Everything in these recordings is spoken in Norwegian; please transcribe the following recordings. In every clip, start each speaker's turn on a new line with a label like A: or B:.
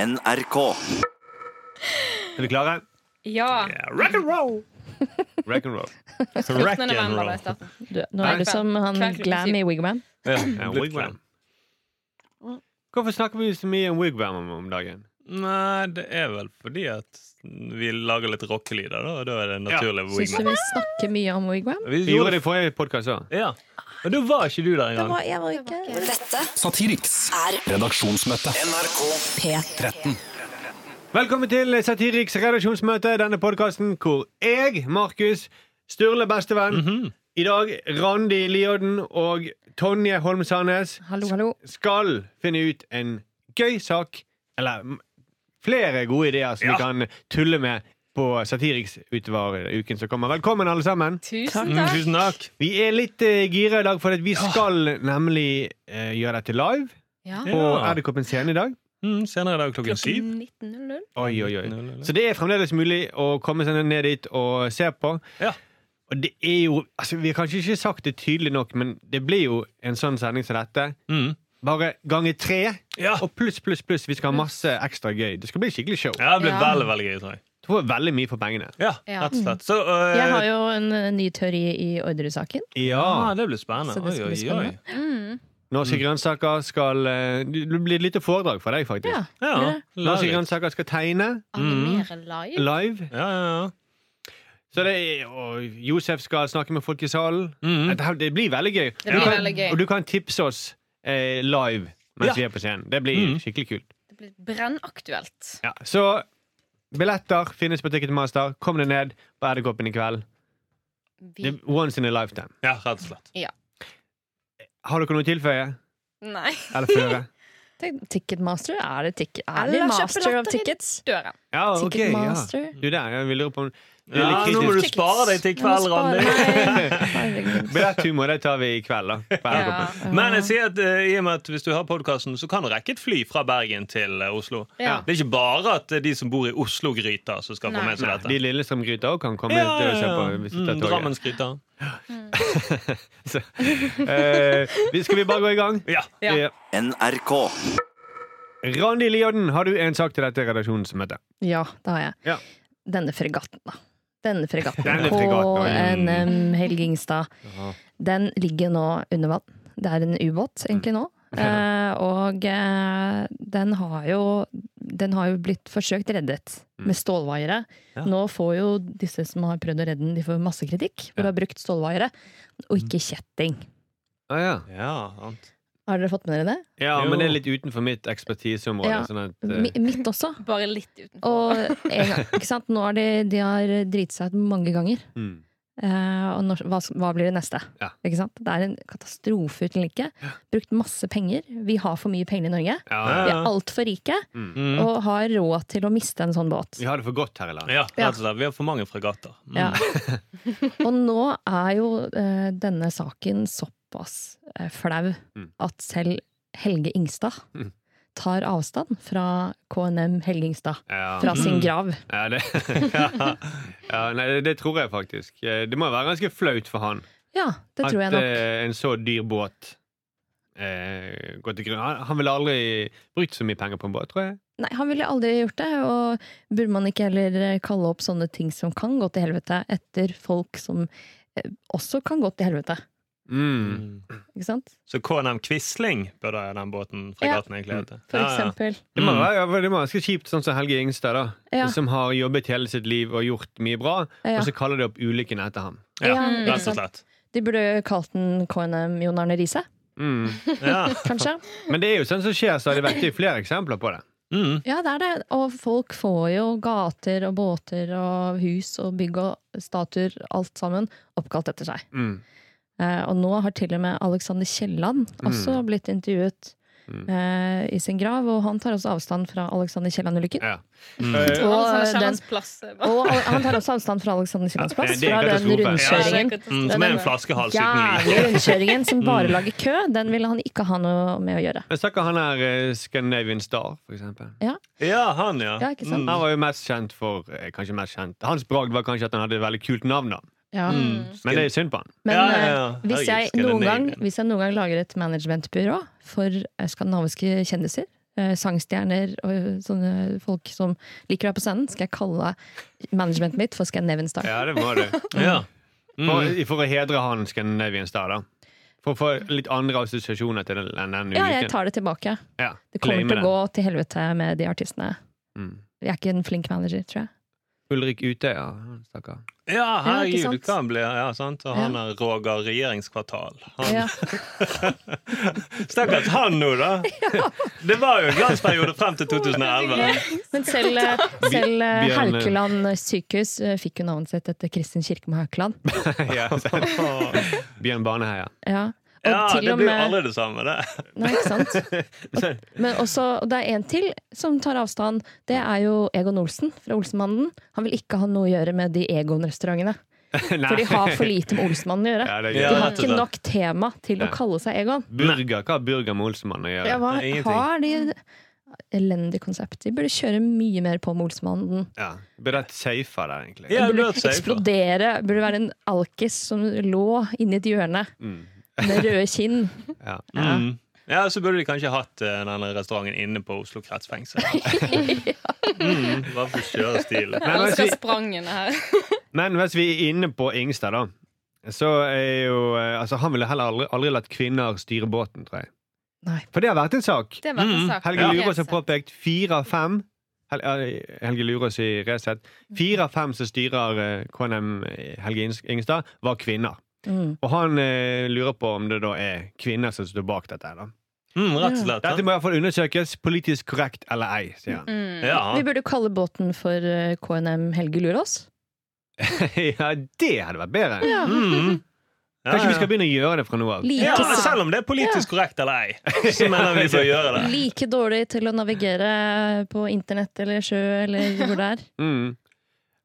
A: NRK.
B: Er vi klare?
C: Ja.
B: Yeah, rock and roll! Rock and roll.
C: 14. november var det i starten.
D: Du, nå er du som han
C: Kveld klokken
D: Glam
C: syv.
D: i Wigman.
B: Ja, ja, wigwam. Hvorfor snakker vi så mye om wigwam om- om dagen?
E: sånn. Nei, det er vel fordi at vi lager litt rockelyder, da. Og da er det naturlig ja.
D: Syns du vi snakker mye om Wigman?
B: Vi gjorde det i forrige podkast òg.
E: Ja. Men da var ikke du der engang.
D: jeg var ikke
F: Dette
G: Satiriks
F: er
G: redaksjonsmøte.
F: P13.
B: Velkommen til Satiriks redaksjonsmøte, denne podkasten hvor jeg, Markus, Sturle bestevenn, i dag Randi Lioden og Tonje Holm Sandnes
D: Hallo, hallo.
B: skal finne ut en gøy sak, eller m- flere gode ideer som vi kan tulle med på Satiriks utover uken som kommer. Velkommen, alle sammen.
C: Tusen
E: Mm,
C: takk.
E: tusen takk.
B: Vi er litt eh, gira i dag, for at vi skal nemlig eh, gjøre dette live
C: Ja.
B: på
E: Ja.
B: Edderkoppen scene i dag.
E: Mm, senere i dag klokken syv.
C: Klokken 19.00.
B: Oi, oi, oi. Så det er fremdeles mulig å komme seg ned dit og se på.
E: Ja.
B: Og det er jo altså, Vi har kanskje ikke sagt det tydelig nok, men det blir jo en sånn sending som dette.
E: Mm.
B: Bare ganger tre,
E: Ja.
B: og pluss, pluss, pluss. Vi skal ha masse ekstra gøy. Det skal bli skikkelig show.
E: ja, det ble
C: Ja.
E: veldig veldig gøy, tror jeg.
B: Jeg tror veldig mye for pengene.
E: Ja,
C: Ja.
E: rett og slett. Så, øh,
D: Mm. Jeg har jo en eh, ny teori i ordresaken.
E: ah, Det blir spennende.
D: Så det skal
E: Oi,
D: bli
E: oi, oi.
D: spennende.
E: Mm.
B: Norske grønnsaker skal eh, Det blir et lite foredrag for deg, faktisk.
D: Ja.
E: Ja,
B: Norske
E: ja,
B: grønnsaker skal tegne
E: Mm.
C: Animere live.
B: live.
E: ja, ja.
B: Så det er, og Josef skal snakke med folk i salen.
E: Mm.
B: Dette her- Det blir veldig gøy.
C: Det
B: Du
C: blir
B: kan,
C: veldig gøy.
B: Og du kan tipse oss eh, live mens
E: Ja.
B: vi er på scenen. Det blir
E: Mm.
B: skikkelig kult.
C: Det blir brennaktuelt.
B: Ja. Så billetter finnes på Ticketmaster. Kom deg ned på Edderkoppen i kveld.
C: Vi...
B: Det- Once in a lifetime.
E: ja, rett og slett.
B: Har dere noe å tilføye?
C: Nei.
B: Eller føre?
D: Tenk, Ticketmaster? Er det tick er
C: Eller
D: det
C: kjøpe
D: master of
C: lotteri.
D: tickets?
C: Døren.
B: Ja, ok, ja.
D: Ticketmaster.
B: Du der, jeg lurer på om det er
E: Ja,
B: litt
E: nå må
B: kritisk.
E: du spare deg til i kveld, Randi.
D: Randi.
B: Billetthumor, det tar vi i kveld, da. På
C: Ja.
B: Edderkoppen.
E: Men jeg sier at eh, i og med at hvis du har podkasten, så kan du rekke et fly fra Bergen til eh, Oslo.
C: Ja.
E: Det er ikke bare at det er de som bor i Oslo-gryta, som skal få
C: Nei.
E: med seg dette.
B: De Lillestrøm-gryta òg kan komme til å se på. Hvis de tar
E: Mm,
B: toget.
E: Drammensgryta.
B: Så, eh, vi- skal vi bare gå i gang?
E: Ja.
C: Ja.
B: Eh,
A: NRK.
B: Randi Lioden, har du en sak til dette redaksjonsmøtet?
D: Ja, det har jeg.
B: Ja.
D: Denne fregatten, da. Denne fregatten
B: Denne
D: på
B: fregatten, ja. Mm.
D: NM Helgingstad. Den ligger nå under vann. Det er en ubåt egentlig nå.
B: Mm.
D: Eh, og eh, den har jo Den har jo blitt forsøkt reddet
B: Mm.
D: med stålvaiere. Nå får jo disse som har prøvd å redde den, de får masse kritikk. For de har brukt stålvaiere, og
B: Mm.
D: ikke kjetting.
B: Ah, ja.
E: ja, sant.
D: Har dere fått med dere det?
B: ja,
E: Jo.
B: men det er litt utenfor mitt ekspertiseområde.
D: Ja.
B: Sånn at, eh,
D: Mi, mitt også.
C: Bare litt utenfor.
D: Og en gang, ikke sant? Nå har de, de har driti seg ut mange ganger.
B: mm.
D: Eh, og når, hva, hva blir det neste?
B: Ja.
D: Ikke sant? Det er en katastrofe uten like. Brukt masse penger. Vi har for mye penger i Norge.
B: ja,
D: Vi
B: ja.
D: er altfor rike
E: Mm.
D: og har råd til å miste en sånn båt.
B: Vi har det for godt her i landet.
E: ja, rett og slett. Vi har for mange fregatter. Mm.
D: Ja.
B: Mm.
D: og nå er jo eh, denne saken såpass eh, flau
B: Mm.
D: at selv Helge Ingstad
B: Mm.
D: tar avstand fra KNM Helge Ingstad.
B: Ja. Mm.
D: Fra sin grav.
B: Ja, det, ja. Ja, nei, det- det tror jeg faktisk. Eh, Det må være ganske flaut for han
D: Ja, det
B: at
D: tror jeg nok.
B: eh, en så dyr båt eh, går til grunn. Han, han ville aldri brukt så mye penger på en båt, tror jeg.
D: Nei, han ville aldri gjort det, og burde man ikke heller eh, kalle opp sånne ting som kan gå til helvete, etter folk som eh, også kan gå til helvete,
B: Mm.
E: Mm.
D: ikke sant?
E: Så KNM Quisling burde den båten fregatten egentlig hete.
D: For eksempel.
B: Det
E: Mm,
B: må være, ja, for det må være ganske kjipt, sånn som Helge Ingstad, da.
D: Ja.
B: Som har jobbet hele sitt liv og gjort mye bra,
D: Ja.
B: og så kaller de opp ulykken etter ham.
E: Ja, ja,
D: eh, Ja,
E: rett og slett.
D: De burde kalt den KNM Jon Arne Riise,
B: Mm.
E: Ja.
D: kanskje?
B: Men det er jo sånn som skjer stadig vekk. Det er flere eksempler på det.
E: Mm.
D: Ja, det er det. Og folk får jo gater og båter og hus og bygg og statuer, alt sammen, oppkalt etter seg.
B: Mm.
D: Eh, og nå har til og med Alexander Kielland også
B: Mm.
D: blitt intervjuet eh, i sin grav, og han tar også avstand fra Alexander Kielland-ulykken.
B: Ja.
E: mm.
D: Og,
B: Eh,
C: Alexander
D: den-
C: Kiellands plass. eh, bare-
D: Og han tar også avstand fra Alexander Kiellands plass.
B: Ja, det er
D: Fra
B: en
D: den
B: katastrofe.
C: Ja, det er
D: rundkjøringen.
C: katastrofe.
E: Mm, som er en flaskehals uten like.
D: Jævlig rundkjøringen som bare lager kø. Den ville han ikke ha noe med å gjøre.
B: Men snakker han her eh, Scandinavian Star, for eksempel.
E: Ja, han, ja. Mm.
D: Ja, ikke sant?
B: Han var jo mest kjent for eh, Kanskje mest kjent Hans bragd var kanskje at han hadde et veldig kult navn, da.
D: Ja.
B: Men det er synd på han.
D: Men
E: Mm. Ja, ja, ja.
D: eh, Hvis,
E: Herregud,
D: jeg noen gang,
E: Scandinavian.
D: hvis jeg noen gang lager et managementbyrå for eh, skandinaviske kjendiser, eh, sangstjerner og sånne folk som liker deg på scenen, skal jeg kalle managementet mitt for Scandinavian Star.
B: Ja, det må du.
E: Ja. Mm.
B: For, for å hedre han Scandinavian Star, da. For å få litt andre assosiasjoner til den, den, den
D: Ja, jeg
B: ulykken.
D: tar det tilbake.
B: Ja,
D: Det kommer
B: claime
D: til å gå til helvete med de artistene.
B: Mm.
D: Jeg er ikke en flink manager, tror jeg.
B: Ulrik Utøya, han stakkar.
E: ja,
D: ikke
E: herregud,
D: sant?
E: du kan bli ja, sant? Og han er Roger Regjeringskvartal. Han,
D: Ja.
E: Stakkars han nå, da! Det var jo en glansperiode frem til 2011.
D: Men selv, eh, selv eh,
B: Bjørn-
D: Haukeland sykehus eh, fikk jo navnet sitt etter Kristin Kirkemo Haukeland.
B: ja, så- Bjørn Baneheia.
D: Ja. Og
E: Ja,
D: til
E: det
D: og
E: blir
D: med-
E: aldri det samme, det.
D: Nei, ikke sant? Og- Men også, og det er en til som tar avstand. Det er jo Egon Olsen fra Olsenmannen. Han vil ikke ha noe å gjøre med de Egon-restaurantene.
B: Nei.
D: For de har for lite med Olsenmannen å gjøre.
B: Ja, det er
E: Ja,
D: De
B: gøy.
D: har
E: rett og
D: ikke
E: slett.
D: nok tema til å
B: Nei.
D: kalle seg Egon.
B: Burger, hva har burger med Olsemann å gjøre?
D: Ja, hva
E: Ingenting.
D: har de Elendig konsept. De burde kjøre mye mer på med Olsenmannen.
B: Ja. Burde hatt safer der, egentlig.
E: Ja, det
D: De burde
E: blir et safe, da.
D: eksplodere. Burde være en alkis som lå inni et hjørne
B: Mm.
D: med røde kinn.
B: Ja.
D: Ja.
E: Mm. Ja, så burde de kanskje hatt eh, denne restauranten inne på Oslo kretsfengsel. mm, bare for å kjøre stilen.
B: Men altså, hvis
C: Elsker
B: vi,
C: sprangene her.
B: men hvis vi er inne på Ingstad, da. Så er jo eh, Altså, han ville heller aldri, aldri latt kvinner styre båten, tror jeg.
D: Nei.
B: For det har vært en sak.
C: Det var
E: Mm,
C: en sak.
B: Helge Lurås har påpekt fire av fem Hel eh, Helge Lurås i Resett. Fire av fem som styrer eh, KNM Helge Ings- Ingstad, var kvinner.
D: Mm.
B: Og han eh, lurer på om det da er kvinner som står bak dette. her, da.
E: Mm, rett og slett.
B: Dette
E: Ja.
B: må iallfall undersøkes. Politisk korrekt eller ei, sier han.
C: Mm.
E: Ja.
D: Vi burde kalle båten for eh, KNM Helge Lurås.
B: ja, det hadde vært bedre.
E: Mm. Ja,
B: Kanskje vi
E: ja.
B: skal begynne å gjøre det fra nå av.
E: ja,
D: Like,
E: men Selv om det er politisk korrekt eller ei, så mener vi bør gjøre det.
D: like dårlig til å navigere på internett eller sjø eller hvor det er.
B: Mm.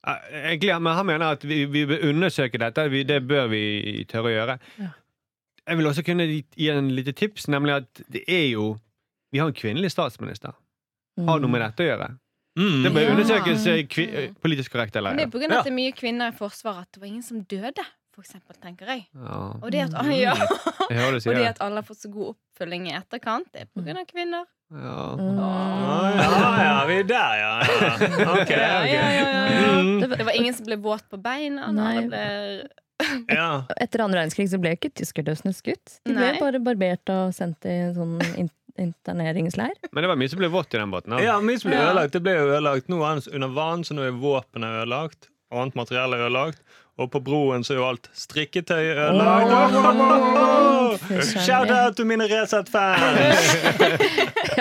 B: Eh, Egentlig, men han mener at vi, vi bør undersøke dette. Vi, det bør vi tørre å gjøre.
D: Ja.
B: Jeg vil også kunne gi gi en lite tips, nemlig at det er jo Vi har en kvinnelig statsminister. Har noe med dette å gjøre. Det
E: Mm.
B: bør
D: Ja.
B: undersøkes eh, kvi, eh, politisk korrekt eller
C: Men det er
B: ei.
C: på grunn av
E: Ja.
C: at det er mye kvinner i Forsvaret at det var ingen som døde, for eksempel, tenker jeg.
B: Ja.
C: Og det at, ja.
B: Jeg hører du
C: og
B: sier
C: det
B: det.
C: at alle har fått så god oppfølging i etterkant, det er på grunn av kvinner.
B: Ja.
D: Mm.
E: Ah, ja, ja, vi er der, ja. ja. Ok,
C: Ja,
E: ok.
C: ja, ja, ja, ja.
E: Mm.
C: Det var ingen som ble våt på beina.
D: Nei.
C: Alle ble...
E: Ja.
D: Etter andre verdenskrig så ble jo ikke tyskerdøsene skutt. De
C: Nei.
D: ble bare barbert og sendt i en sånn in interneringsleir.
B: Men det var mye som ble vått i den båten. da.
E: Ja, mye som ble
C: Ja.
E: ødelagt. Det ble jo ødelagt noe annet under vann, så nå er våpenet ødelagt. og Annet materiell er ødelagt. Og på broen så er jo alt strikketøy ødelagt. Shout out til mine Resett-fans!
D: Ja,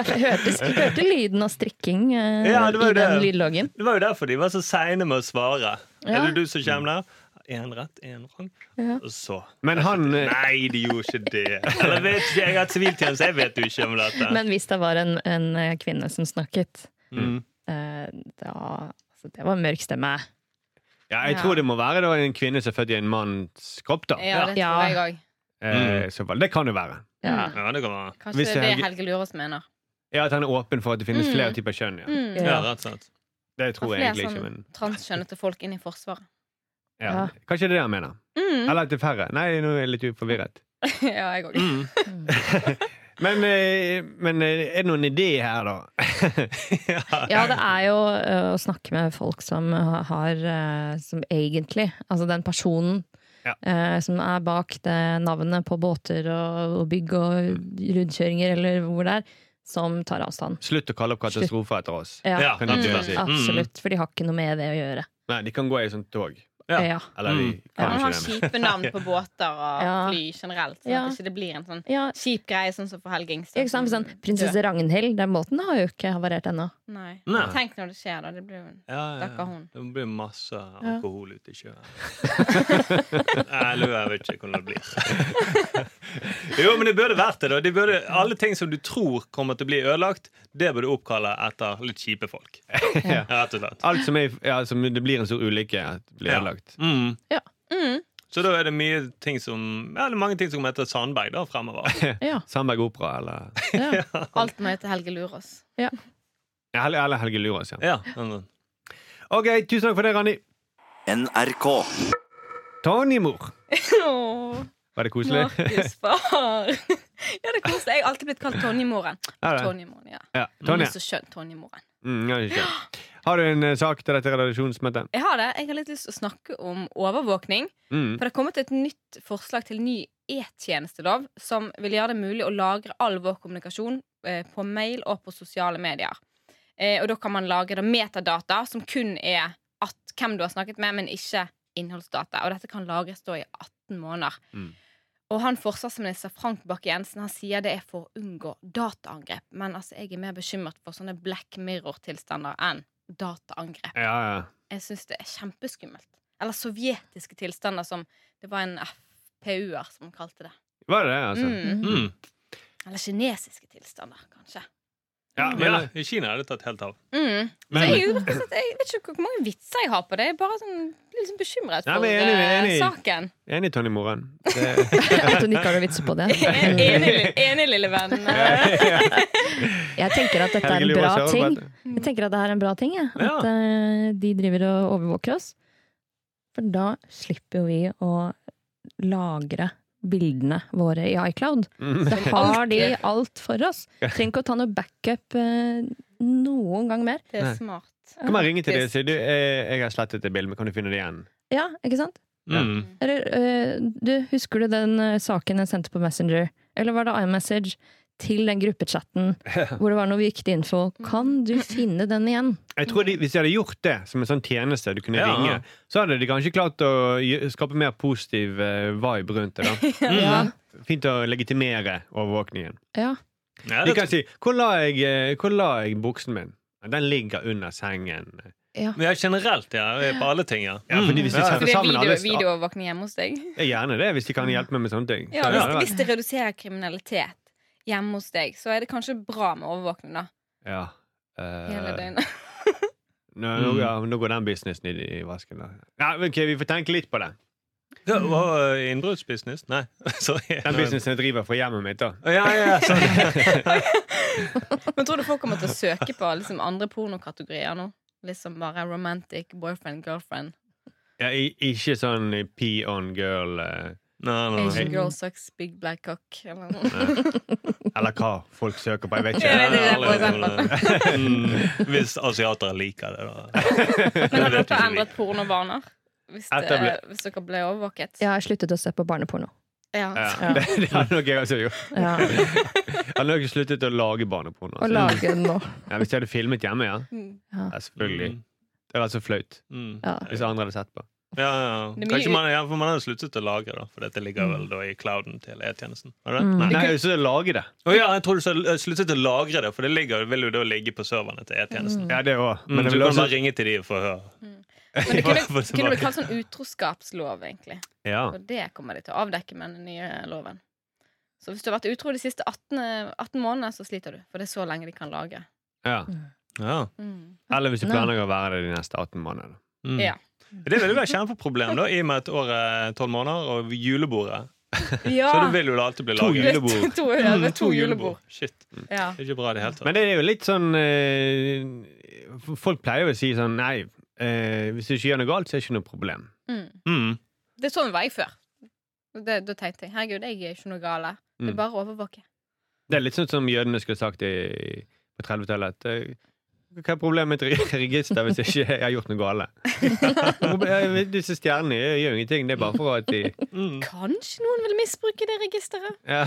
D: jeg hørte, jeg hørte lyden av strikking eh,
E: Ja, det var
D: i
E: jo
D: den
E: det.
D: lydloggen.
E: Det var jo derfor de var så seine med å svare.
D: Ja.
E: Er det du som kommer der? Én rett, én vrang.
D: Ja.
E: Og så
B: Men han eh,
E: Nei, de gjorde ikke det! Eller vet ikke, jeg har hatt siviltjeneste, jeg vet jo ikke om dette.
D: Men hvis det var en, en eh, kvinne som snakket,
E: mm.
D: eh, da altså, Det var en mørk stemme.
B: ja, Jeg
C: Ja.
B: tror det må være da, en kvinne som er født i en manns kropp, da.
C: Ja, det
D: Ja.
C: tror jeg òg.
B: Eh, så vel, det kan jo være.
D: Ja.
C: Mm.
E: Ja, det kan være.
C: Kanskje
B: Hvis
C: det er det
B: Helge-
C: Helge Lurås mener.
B: Ja, At han er åpen for at det finnes
C: Mm.
B: flere typer kjønn. Ja.
C: Mm.
E: Ja, rett og slett.
B: Det tror
C: Og
B: jeg
C: flere
B: egentlig ikke,
C: sånn-
B: men
C: Transkjønnete folk inn i Forsvaret.
B: ja.
D: Ja.
B: Kanskje det er det han mener.
C: Mm.
B: Eller at det er færre. Nei, nå er jeg litt forvirret.
C: Ja, jeg òg.
E: Mm.
B: Men, eh, men eh, er det noen idé her, da?
D: Ja, det er jo ø, å snakke med folk som har ø, Som egentlig Altså den personen
B: Ja.
D: ø, som er bak det navnet på båter og, og bygg og rundkjøringer eller hvor det er, som tar avstand.
B: Slutt å kalle opp katastrofer etter oss.
D: Ja,
E: Ja,
B: Kan de
E: rett og
B: dø,
E: slett.
B: si.
D: absolutt. For de har ikke noe med det å gjøre.
B: Nei, de kan gå i sånt tog.
E: Ja.
D: Ja.
B: Eller de
E: Mm.
B: kan
C: Man har
B: ikke det.
C: kjipe navn på båter og
D: Ja.
C: fly generelt. Sånn
D: Ja.
C: at ikke det ikke blir en sånn
D: Ja,
C: kjip greie, sånn som for Helge Ingstad.
D: ikke sant? For
C: som
D: Sånn, Prinsesse Ragnhild, den båten har jo ikke havarert
C: dør.
D: ennå.
C: Nei.
E: Nei.
C: Tenk når det skjer, da. Det blir jo en
E: Ja, ja,
C: Stakkar
E: ja.
C: hun.
E: Det blir masse alkohol ute i sjøen. Nei, lurer, jeg vet ikke hvordan det blir. Jo, men det burde vært det. da de burde, Alle ting som du tror kommer til å bli ødelagt, det bør du oppkalle etter litt kjipe folk.
B: Ja.
E: Rett og slett.
B: Alt som, er, ja, som det blir en stor ulykke, at det blir
E: Ja.
B: ødelagt.
E: Mm.
C: Mm.
E: Så da er det mye ting som ja, det er mange ting som heter Sandberg da, fremover.
D: Ja,
B: Sandberg Opera eller
D: ja.
C: Alt må hete Helge Lurås.
B: Ja, Hel- Eller Helge Lurås, ja.
E: Ja, sånn.
B: OK, tusen takk for det, Randi.
A: NRK.
B: Tanimor.
C: Åh.
B: Var det koselig?
C: Markus, far. Ja, det er koselig. Jeg har alltid blitt kalt Tonjemoren.
B: Er det?
C: Tonjemoren, ja.
B: Ja.
C: Hun
B: Tonje.
C: er så skjønn, Tonjemoren.
B: Mm, ja, det er skjønt. har du en eh, sak til dette redaksjonsmøtet?
C: Jeg har det. Jeg har litt lyst til å snakke om overvåkning.
B: Mm.
C: For det er kommet et nytt forslag til ny e-tjenestelov som vil gjøre det mulig å lagre all vår kommunikasjon eh, på mail og på sosiale medier. Eh, og da kan man lagre da metadata, som kun er at, hvem du har snakket med, men ikke innholdsdata. Og dette kan lagres da i 18 måneder.
B: Mm.
C: Og han forsvarsminister Frank Bakke-Jensen han sier det er for å unngå dataangrep. Men altså, jeg er mer bekymret for sånne black mirror-tilstander enn dataangrep.
B: Ja, ja.
C: Jeg syns det er kjempeskummelt. Eller sovjetiske tilstander, som det var en FPU-er som kalte det.
B: Var det det, altså?
C: Mm.
E: Mm.
C: Eller kinesiske tilstander, kanskje.
B: Ja, men,
E: Mm. Ja, I Kina er det tatt helt av.
C: Mm.
B: Men-
C: så jeg, lurer på sånn at jeg vet ikke hvor mange vitser jeg har på det. Jeg er bare sånn, blir liksom bekymret
B: Nei,
C: for
B: men enig,
C: eh,
B: enig.
C: saken.
B: Enig, Tonje Moren. Det-
D: At hun ikke har noen vitser på det.
C: enig, li- enig, lille venn.
D: Jeg tenker at dette er en
B: Helge
D: bra
B: Luas hører på
D: ting.
B: dette.
D: Jeg tenker at det er en bra ting, jeg.
E: Ja.
D: At eh, de driver og overvåker oss. For da slipper jo vi å lagre bildene våre i iCloud.
B: Mm.
D: Da har de alt for oss. Trenger ikke å ta noe backup eh, noen gang mer.
C: Det
B: Nei.
C: er smart.
B: Kan man ringe til deg og si du, eh, jeg har slettet det bildet, men kan du finne det igjen?
D: Ja, ikke sant?
E: Mm.
D: Eller eh, du, husker du den eh, saken jeg sendte på Messenger? Eller var det iMessage? Til den gruppechatten hvor det var noe viktig info. Kan du finne den igjen?
B: Jeg tror de, Hvis de hadde gjort det som en sånn tjeneste du kunne
E: Ja.
B: ringe, så hadde de kanskje klart å gj- skape mer positiv eh, vibe rundt det. da
D: Ja.
E: Mm.
B: Fint å legitimere overvåkningen.
D: ja.
E: Ja,
B: De
E: det,
B: kan si 'Hvor la jeg, eh, hvor la jeg buksen min?' Den ligger under sengen.
D: ja.
E: ja, generelt, ja. På alle ting, ja. Mm.
B: Ja, fordi hvis vi
E: ja.
B: setter-
C: Så det er
B: Sammen
C: video,
B: alle-
C: videoovervåkning hjemme hos deg?
B: Ja, Gjerne det, hvis de kan hjelpe meg med sånne ting.
C: Ja,
E: Ja,
C: hvis,
E: det
C: hvis det reduserer kriminalitet hjemme hos deg, så er det kanskje bra med overvåkning, da.
B: Ja.
C: Hele
B: Eh,
C: døgnet.
B: nå, nå, ja,
E: Mm.
B: nå går den businessen i, i vasken. Da. Ja, ok, Vi får tenke litt på det.
E: Ja, hva, eh, Innbruddsbusiness? Nei, sorry.
B: Den businessen jeg driver fra hjemmet mitt. da
E: Ja, ja, sånn.
C: Men tror du folk kommer til å søke på liksom, andre pornokategorier nå? Liksom bare romantic boyfriend, girlfriend.
B: ja, i, Ikke sånn pee on girl eh,
E: Nei, nei, nei.
C: Asian girl sucks big black cock. Eller noe.
B: Eller hva folk søker på. Jeg vet
C: Jeg vet
B: ikke.
C: ikke. det, for
E: Mm, Hvis asiatere liker det, da.
C: Men har
E: Det vet
C: dere
E: ikke vi.
C: endret pornovaner? Hvis,
B: At det
C: det,
B: ble-
C: hvis dere ble overvåket?
D: Jeg har sluttet å se på barneporno.
C: Ja.
B: Ja, det, det hadde nok jeg også gjort.
D: Ja,
B: Jeg hadde nok sluttet å lage barneporno.
D: Og
B: Altså.
D: lage den nå.
B: Ja, hvis jeg hadde filmet hjemme, ja.
C: Mm.
D: Ja.
B: ja selvfølgelig. Det hadde vært så flaut
E: Mm.
D: Ja.
B: hvis andre hadde sett på.
E: Ja, ja.
C: Det er mye- Mm.
E: Kanskje man, ja, for man hadde sluttet å lagre, da. For dette ligger vel da i clouden til E-tjenesten. Var det?
D: Mm.
E: Nei.
B: Nei, så lage det.
E: Å ja, jeg tror du sa eh, sluttet å lagre det, for det ligger, vil jo da ligge på serverne til E-tjenesten.
B: Ja, det òg.
E: Mm,
B: Men
E: så
B: jeg
E: du
B: vil
E: kan
B: også
E: bare ringe til de og få høre.
C: Men det kunne,
E: Få
C: kunne
E: tilbake.
C: bli kalt sånn utroskapslov, egentlig.
B: ja.
C: Og det kommer de til å avdekke med den nye loven. Så hvis du har vært utro de siste 18, 18 månedene, så sliter du. For det er så lenge de kan lage.
B: Ja.
E: Ja.
C: Mm.
B: Eller hvis du planlegger å være det de neste 18 månedene.
E: Mm.
C: Ja.
E: Det vil jo være kjempeproblem, da, i og med at året er tolv måneder, og julebordet.
C: ja.
E: Så det vil jo da alltid bli
B: To
E: lagret.
B: julebord.
C: To, to, ja, det er to julebord.
E: Shit.
C: Ja.
E: Det er ikke bra i det hele tatt.
B: Men det er jo litt sånn eh, Folk pleier jo å si sånn Nei, eh, hvis du ikke gjør noe galt, så er det ikke noe problem.
C: Mm.
E: Mm.
C: Det er sånn var jeg før. Det, da tenkte jeg herregud, jeg er ikke noe gale. Det
B: Mm.
C: er bare å overvåke.
B: Det er litt sånn som jødene skulle sagt i, på 30-tallet. at, eh, Hva er problemet med et register hvis jeg ikke har gjort noe galt? Proble- eh, Disse stjernene gjør gjør jo ingenting. Det er bare for at de
E: Mm.
C: Kanskje noen vil misbruke det registeret?
B: ja.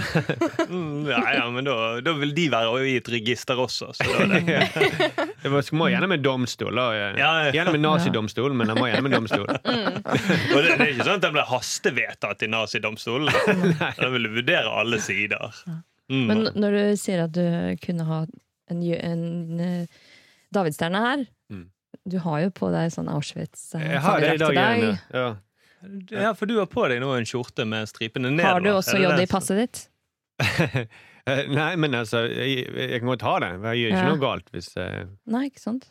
E: Mm. Ja, ja, men da, da vil de være i et register også. Så da er det.
B: Det var- må gjennom en domstol. da.
E: Ja, ja.
B: Gjennom en nazidomstol, men den må gjennom en domstol.
E: Og det, det er ikke sånn at den ble hastevedtatt i nazidomstolen. Den ville vurdere alle sider. Mm.
D: Men når du sier at du kunne ha en, jø- en eh, davidsstjerne her
B: Mm.
D: Du har jo på deg sånn Auschwitz. eh,
B: Jeg har det i dag, eh,
D: fadderdrakt til
B: Janne.
D: deg.
B: Ja.
E: ja, for du har på deg nå en skjorte med stripene ned.
D: Har du
E: da.
D: også
E: Er det
D: jod
E: det
D: i passet ditt?
B: Eh, Nei, men altså, jeg, jeg kan godt ha det. Jeg gjør ikke
D: Ja.
B: noe galt, hvis, eh,
D: Nei, ikke sant?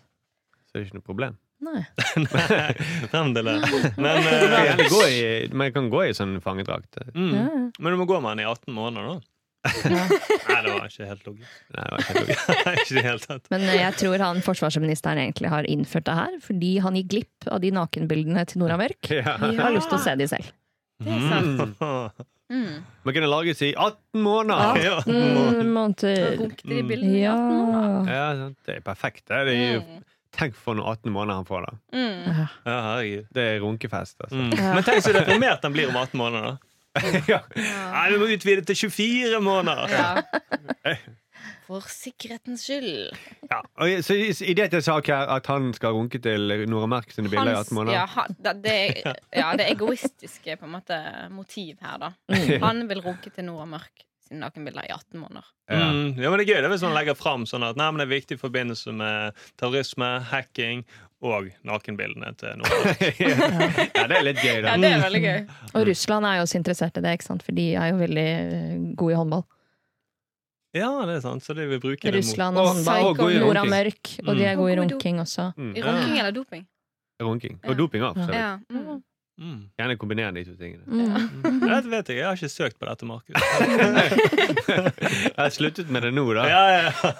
B: så er det ikke noe problem.
D: Nei.
E: som- Fremdeles. Men,
B: Jeg kan
E: eh,
B: gjerne gå i, men jeg kan gå i sånn fangedrakt.
D: Ja,
E: mm.
D: ja.
E: men du må gå med den i 18 måneder, da.
D: Ja.
E: Nei, det var ikke helt logisk.
B: Nei, det var ikke noe.
E: Nei, ikke i det hele tatt.
D: Men eh, jeg tror han forsvarsministeren egentlig har innført det her fordi han gikk glipp av de nakenbildene til Nora Mørk.
B: Ja.
D: Jeg har lyst til å se de selv.
C: Det er sant. Mm.
B: Man kunne lages i 18 måneder.
E: Ja.
D: 18 Mm, måneder.
C: Runkte de bildene i
D: Ja.
C: 18 måneder?
B: Ja, sant. Det er perfekt. Det er det. er jo- Tenk for noen 18 måneder han får. da
C: Mm. Mm.
D: Ja.
E: Ja, herregud.
B: Det er runkefest. altså
E: Mm. Men tenk så deprimert han blir om 18 måneder. da.
C: Mm.
B: ja.
E: Nei, Vi må utvide til 24 måneder!
C: Ja. For sikkerhetens skyld.
B: Ja. Og så i- I det at jeg sa her at han skal runke til Nora Merk sine bilder i
C: Hans-
B: 18 måneder
C: ja, han- da- det, er- ja, det egoistiske på en måte motiv her, da. Han vil runke til Nora Mørk sine nakenbilder i 18 måneder.
B: Ja.
E: Mm. Ja, men Det er gøy det er hvis man legger fram sånn at nei, men det er viktig i forbindelse med terrorisme, hacking og nakenbildene til noen.
B: ja, det er litt gøy, da.
C: Ja, det er veldig gøy.
D: Og Russland er jo også interessert i det, ikke sant? for de er jo veldig eh, gode i håndball.
E: Ja, det er sant. Så det vil bruke det mot
D: Russland
B: Og-
D: og
B: og god
D: håndball.
B: i
D: Nora
B: runking.
D: Mørk, og de er
C: Mm.
D: gode
C: Og god
D: i
C: i
D: runking også.
B: Mm.
C: I Runking eller doping?
B: Runking. Og doping òg.
D: Ja.
C: Ja. Mm.
E: mm.
B: Gjerne kombinere de to tingene.
D: Mm.
E: Det vet jeg. Jeg har ikke søkt på dette, Markus.
B: Jeg har sluttet med det nå, da.
E: Ja, ja, ja.
B: Eh,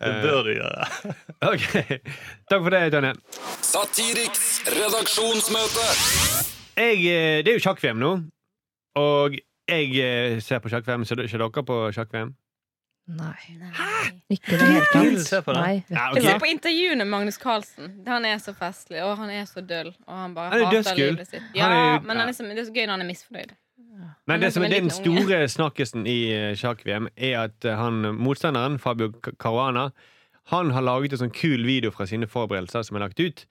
E: Det bør du gjøre.
B: Ok. Takk for det, Tonje.
A: Satiriks redaksjonsmøte.
B: Jeg, eh, det er jo sjakk-VM nå, og jeg eh, ser på sjakk-VM. Ser ser dere på sjakk-VM?
D: Nei,
C: Nei.
D: ikke i det hele tatt.
E: Vil du se på det?
D: Nei,
B: Ja,
C: Jeg så
B: ok.
C: på intervjuet med Magnus Carlsen. Han er så festlig, og han er så døll. Og han bare
B: Han er
C: hater
B: dødsgull.
C: livet sitt.
B: Han er
C: Ja,
B: jo-
C: men han er så, det er så gøy når han er misfornøyd.
B: Men
C: Han er
B: det som
C: som
B: er
C: en
B: den
C: liten unge.
B: store snakkesen i eh, sjakk-VM, er at eh, han, motstanderen, Fabio Ca- Caruana, han har laget en sånn kul video fra sine forberedelser som er lagt ut.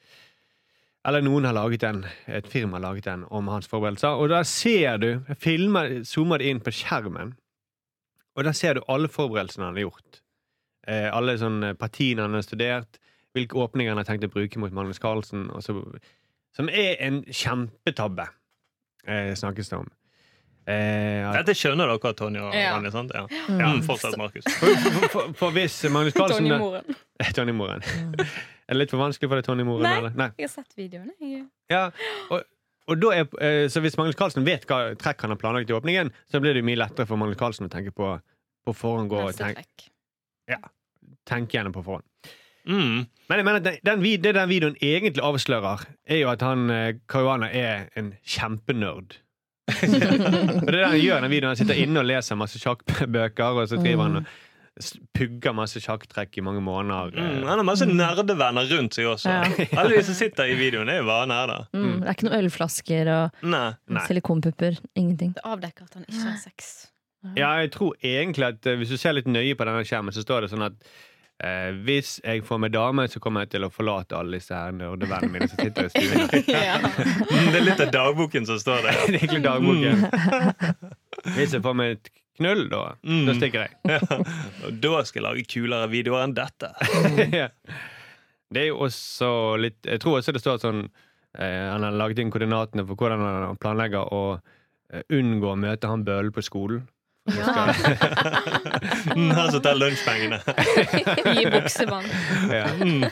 B: Eller noen har laget den, et firma har laget den om hans forberedelser. Og da ser du, jeg filmer, zoomer det inn på skjermen, og der ser du alle forberedelsene han har gjort. Eh, alle sånne partiene han har studert, hvilke åpninger han har tenkt å bruke mot Magnus Carlsen, og så, som er en kjempetabbe, eh, snakkes det om. Eh, at-
E: Dette skjønner dere, Tonje og
C: Ja.
E: Ronny. sant? Ja.
D: Mm.
E: Ja, fortsett, Markus.
B: for, for, for, for hvis Magnus Carlsen
C: Tonje Moren.
B: Eh, Tonje Moren. er det litt for vanskelig for deg, Tonje Moren?
C: Mm. Nei.
B: Eller? Nei.
C: Jeg har sett videoene. Jeg.
B: Ja, og, og da er, eh, så hvis Magnus Carlsen vet hva trekk han har planlagt i åpningen, så blir det jo mye lettere for Magnus Carlsen å tenke på på forhånd. Gå, og
C: Neste
B: tenk,
C: trekk.
B: tenke gjennom på forhånd.
E: Mm.
B: Men jeg mener at den, den, vid- det den videoen egentlig avslører, er jo at han eh, Caruana er en kjempenerd. og det er det han gjør i den videoen. Han sitter inne og leser masse sjakkbøker, og så driver han
E: Mm.
B: og s- pugger masse sjakktrekk i mange måneder. eh.
E: Mm. Han har masse nerdevenner rundt seg også.
D: Ja.
E: Alle de som sitter i videoen, er jo bare nerder.
D: Mm. Det er ikke noen ølflasker og
E: Nei.
B: Nei.
D: silikonpupper. Ingenting.
C: Det avdekker at han ikke har sex.
B: Ja, jeg tror egentlig at eh, Hvis du ser litt nøye på denne skjermen, så står det sånn at eh, hvis jeg får meg dame, så kommer jeg til å forlate alle disse her nerdevennene mine som sitter og skriver. Det
C: ja.
E: Mm, Det er litt av dagboken som står der.
B: er egentlig dagboken. Hvis jeg får meg et knull, da,
E: Mm.
B: da stikker jeg.
E: Og da skal jeg lage kulere videoer enn dette.
B: Ja. Det er jo også litt Jeg tror også det står sånn eh, Han har laget inn koordinatene for hvordan han planlegger å eh, unngå å møte han bølen på skolen.
C: Ja.
E: Mm, Han som tar lunsjpengene.
C: I buksebånd.
B: Ja.
E: Mm.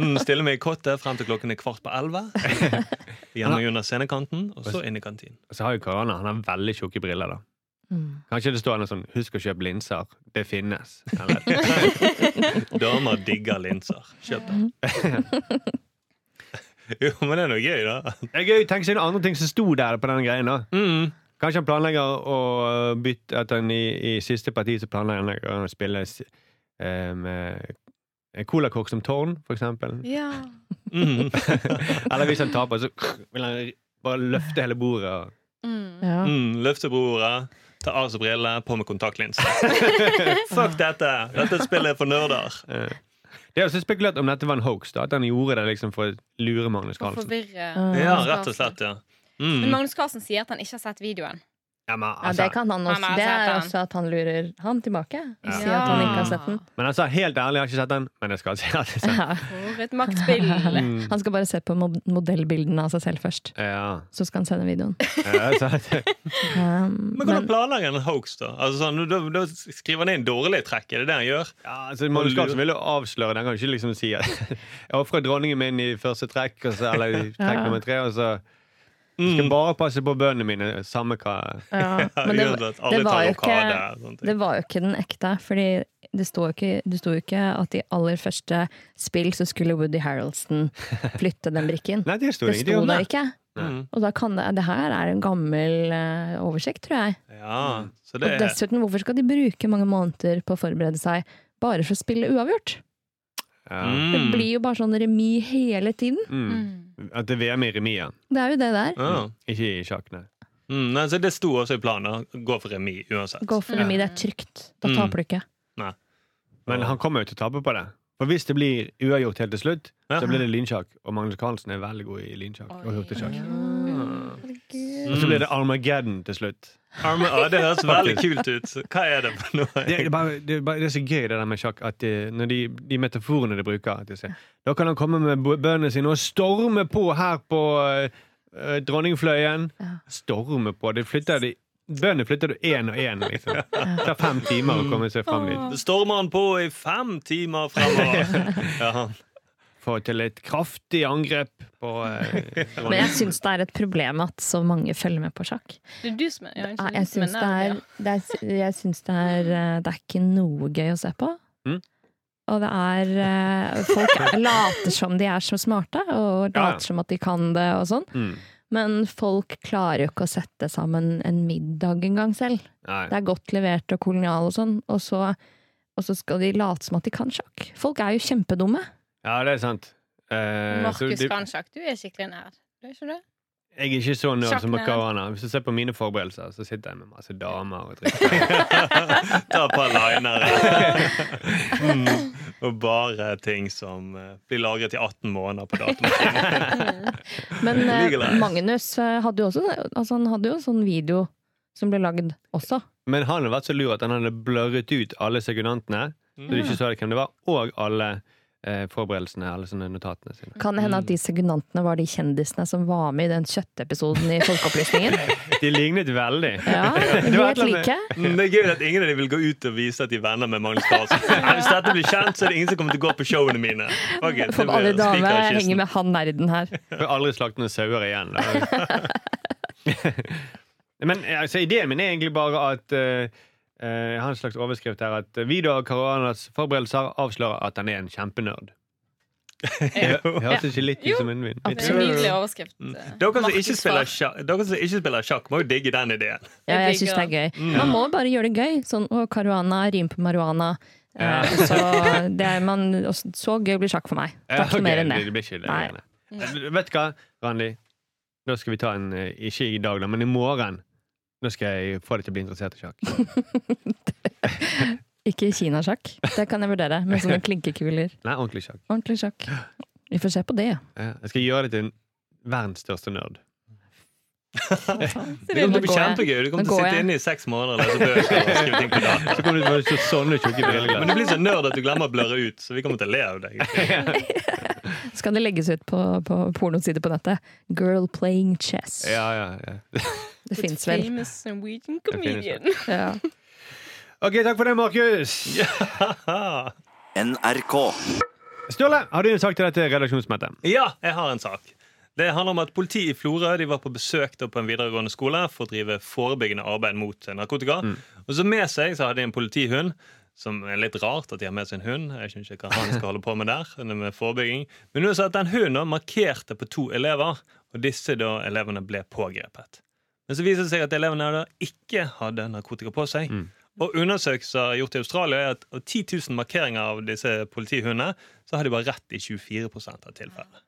E: Mm, Stille meg i kottet frem til klokken er kvart på elleve. Gjennom under scenekanten, og så inn i kantinen.
B: Og så har jo Karana han har veldig tjukke briller. da
D: Mm.
B: Kanskje det står noe sånn 'husk å kjøpe linser'. Det finnes. Eller,
E: Damer digger linser. Kjøp det. Jo, men det er noe gøy, da.
B: det er gøy, Tenk seg noen andre ting som sto der på den greien. da
E: Mm.
B: Kanskje han planlegger å eh, bytte at han i, i siste parti så planlegger han å spille s- eh, med en colakokk som tårn, for eksempel.
C: Ja.
E: Mm.
B: Eller hvis han taper, så vil han bare løfte hele bordet. Og...
C: Mm.
D: Ja.
E: Mm, løfte broret, ta av seg brillene, på med kontaktlinser. Fuck dette! Dette spillet er for nerder.
B: eh. Det er også spekulert om dette var en hoax, da at han gjorde det liksom for å lure Magnus
C: For å
B: Carlsen.
C: forvirre
E: Ja,
C: Magnus
E: rett og
C: Carlsen.
E: slett, ja.
C: Men
E: Mm.
C: Magnus Carlsen sier at han ikke har sett videoen.
B: Ja, men,
D: Ja,
B: altså,
D: det kan han også.
C: Han har
D: Det
C: sett
D: er
C: den.
D: også at han lurer han tilbake.
B: Ja.
D: Sier at han ikke har sett den.
B: men han sa helt ærlig, jeg har ikke sett den, men jeg skal se den. liksom.
D: Ja.
C: For et maktspill.
B: Mm.
D: Han skal bare se på mod- modellbildene av seg selv først.
B: Ja.
D: Så skal han sende videoen.
B: Ja, altså, sant.
D: Um,
E: Men hvordan
D: men,
E: planlegger han en hoax, da? Altså, sånn, da? Da skriver han inn dårlige trekk. Er det det han gjør?
B: Ja, altså, Magnus Carlsen vil jo avsløre det. Han kan jo ikke liksom si at jeg ofrer dronningen min i første trekk, og så, eller i trekk
D: Ja.
B: nummer tre, og så jeg skal bare passe på bøndene mine, samme hva
D: ja. men det,
E: Uansett, alle
D: det var
E: tar
D: jo
E: rokade,
D: ikke-
E: sånne ting.
D: det var jo ikke den ekte. Fordi det sto jo ikke, det sto jo ikke at i aller første spill så skulle Woody Harroldson flytte den brikken.
B: Nei, det sto
D: Det
B: det
D: sto
B: ingenting om.
D: der
B: det.
D: ikke.
E: Mm.
D: Og da kan det, det her er en gammel eh, oversikt, tror jeg.
E: Ja, så
D: Og
E: det er
D: dessuten, hvorfor skal de bruke mange måneder på å forberede seg bare for å spille uavgjort?
B: Ja.
D: Det
E: mm.
D: blir jo bare sånn remis hele tiden.
B: Mm.
C: Mm.
B: At det er VM i remis, ja.
D: Det er jo det der.
E: Ja.
B: Ikke i sjakk, nei.
E: Mm, nei, så det sto også i planen. å Gå for remis uansett.
D: Gå for
C: Ja.
D: remis, det er trygt. Da
E: Mm.
D: taper du ikke.
B: Men han kommer jo til å tape på det. For hvis det blir uavgjort helt til slutt,
E: Ja.
B: så blir det lynsjakk. Og Magnus Carlsen er veldig god i lynsjakk og
C: Oi.
B: hurtigsjakk.
E: Mm.
B: Og så blir det Armageddon til slutt.
E: Arme, ja, det høres veldig kult ut. Hva er det for noe?
B: Det, det, er bare, det, er bare, det er så gøy det der med sjakk, at de, når de, de metaforene de bruker at de sier, Da kan han komme med bo- bøndene sine og storme på her på eh, Dronningfløyen.
D: Ja.
B: Storme på. Det flytter de Bøndene flytter du én og én. Liksom. Det tar fem timer å komme seg fram dit.
E: Stormer han på i fem timer fremover? Ja.
B: Få til et kraftig angrep på eh,
D: Men
B: dronningen.
D: jeg syns det er et problem at så mange følger med på sjakk.
C: Det er du som er ja,
D: Ja,
C: ikke
D: Ah, jeg
C: du som er
D: syns det
C: nerd,
D: er,
C: ja.
D: det er, jeg syns det er eh, Det er ikke noe gøy å se på.
B: Mm.
D: Og det er eh, Folk er- later som de er så smarte, og
B: Ja, ja.
D: later som at de kan det og sånn.
B: Mm.
D: Men folk klarer jo ikke å sette sammen en middag engang selv.
B: Nei.
D: Det er godt levert og kolonial og sånn, og så, og så skal de late som at de kan sjakk. Folk er jo kjempedumme.
B: Ja, det er sant. Eh, så
C: Markus
B: det-
C: Kansjak, du er skikkelig nerd. Du er ikke det?
B: Jeg er ikke så nerd som
C: Sjakknerd.
B: Karana. Hvis du ser på mine forberedelser, så sitter jeg med masse damer og drikker.
E: Ta et par linere. Mm. Og bare ting som eh, blir lagret i 18 måneder på datamaskinen.
D: Men eh,
E: Legalize.
D: Magnus eh, hadde jo også altså han hadde jo en sånn video som ble lagd også.
B: Men han hadde vært så lur at han hadde blurret ut alle sekundantene, så du ikke så det hvem det var, og alle eh, forberedelsene, alle sånne notatene sine.
D: Kan det hende
B: Mm.
D: at de sekundantene var de kjendisene som var med i den kjøttepisoden i Folkeopplysningen?
B: De lignet veldig.
D: Ja,
B: Det var et
D: helt
B: eller annet-
D: like.
E: Mm, Det er gøy at ingen av dem vil gå ut og vise at de er venner med Magnus Carlsen. Nei, Hvis dette blir kjent, så er det ingen som kommer til å gå på showene mine. Fuck it, det
D: For
E: blir spiker
D: alle
E: i
D: damer
E: kisten.
D: henger med han nerden her.
B: Får aldri slakte noen sauer igjen. Da. Men eh, altså, ideen min er egentlig bare at eh, eh, Jeg har en slags overskrift her at Vidar Karanas forberedelser avslører at han er en kjempenerd. Det hø- høres ikke litt ut
C: Jo.
B: som en vinn.
C: Det er en nydelig overskrift. eh,
E: Dere som,
C: Markus
E: ikke spiller
C: Far.
E: sjakk, dere som ikke spiller sjakk, må jo digge den ideen.
D: Ja, jeg
C: Jeg
D: syns det
C: digger
D: er gøy.
B: Mm.
D: Man må bare gjøre det gøy. Sånn å, karuana, rim på marihuana. Eh, Så, det er man, og så- så gøy blir sjakk for meg. Det er
B: Ja,
D: ikke
B: ok,
D: mer enn
B: Det
D: det.
B: blir ikke det.
D: Nei.
B: greiene. Vet du hva, Randi? Nå skal vi ta en eh, Ikke i dag, da, men i morgen. Nå skal jeg få deg til å bli interessert i sjakk.
D: Ikke kinasjakk. Det kan jeg vurdere. Men sånne klinkekuler.
B: Nei, ordentlig sjakk.
D: Ordentlig sjakk. Vi får se på det.
B: Ja, Jeg skal gjøre deg til en verdens største nerd.
E: Det kommer til å bli
D: Nå går jeg.
E: kjempegøy. Du kommer
D: Nå
E: til å
D: går
E: sitte
D: jeg.
E: inne i seks måneder og lese bøker. og skrive ting på dagen.
B: Så kommer du til å se sånne tjukke
E: Men du
B: briller.
E: blir så nerd at du glemmer å blørre ut, så vi kommer til å le av deg.
D: Skal det legges ut på, på pornosider på nettet? Girl playing chess.
B: Ja, ja, ja.
D: Det
C: With
D: fins vel.
C: Famous Norwegian
B: finnes
C: comedian.
D: Ja.
B: OK, takk for det, Markus.
A: NRK.
B: Sturle, har du en sak til dette redaksjonsmøtet?
E: Ja, jeg har en sak. Det handler om at Politiet i Florø de var på besøk da på en videregående skole for å drive forebyggende arbeid mot narkotika. Og så med seg så hadde de en politihund, som er litt rart at de har med seg en hund. Jeg skjønner ikke hva han skal holde på med der, det med forebygging. Men hun sa at den hunden da markerte på to elever, og disse da elevene ble pågrepet. Men så viser det seg at elevene da ikke hadde narkotika på seg. Og undersøkelser gjort i Australia er at av 10 000 markeringer av disse politihundene, så har de bare rett i 24 av tilfellene.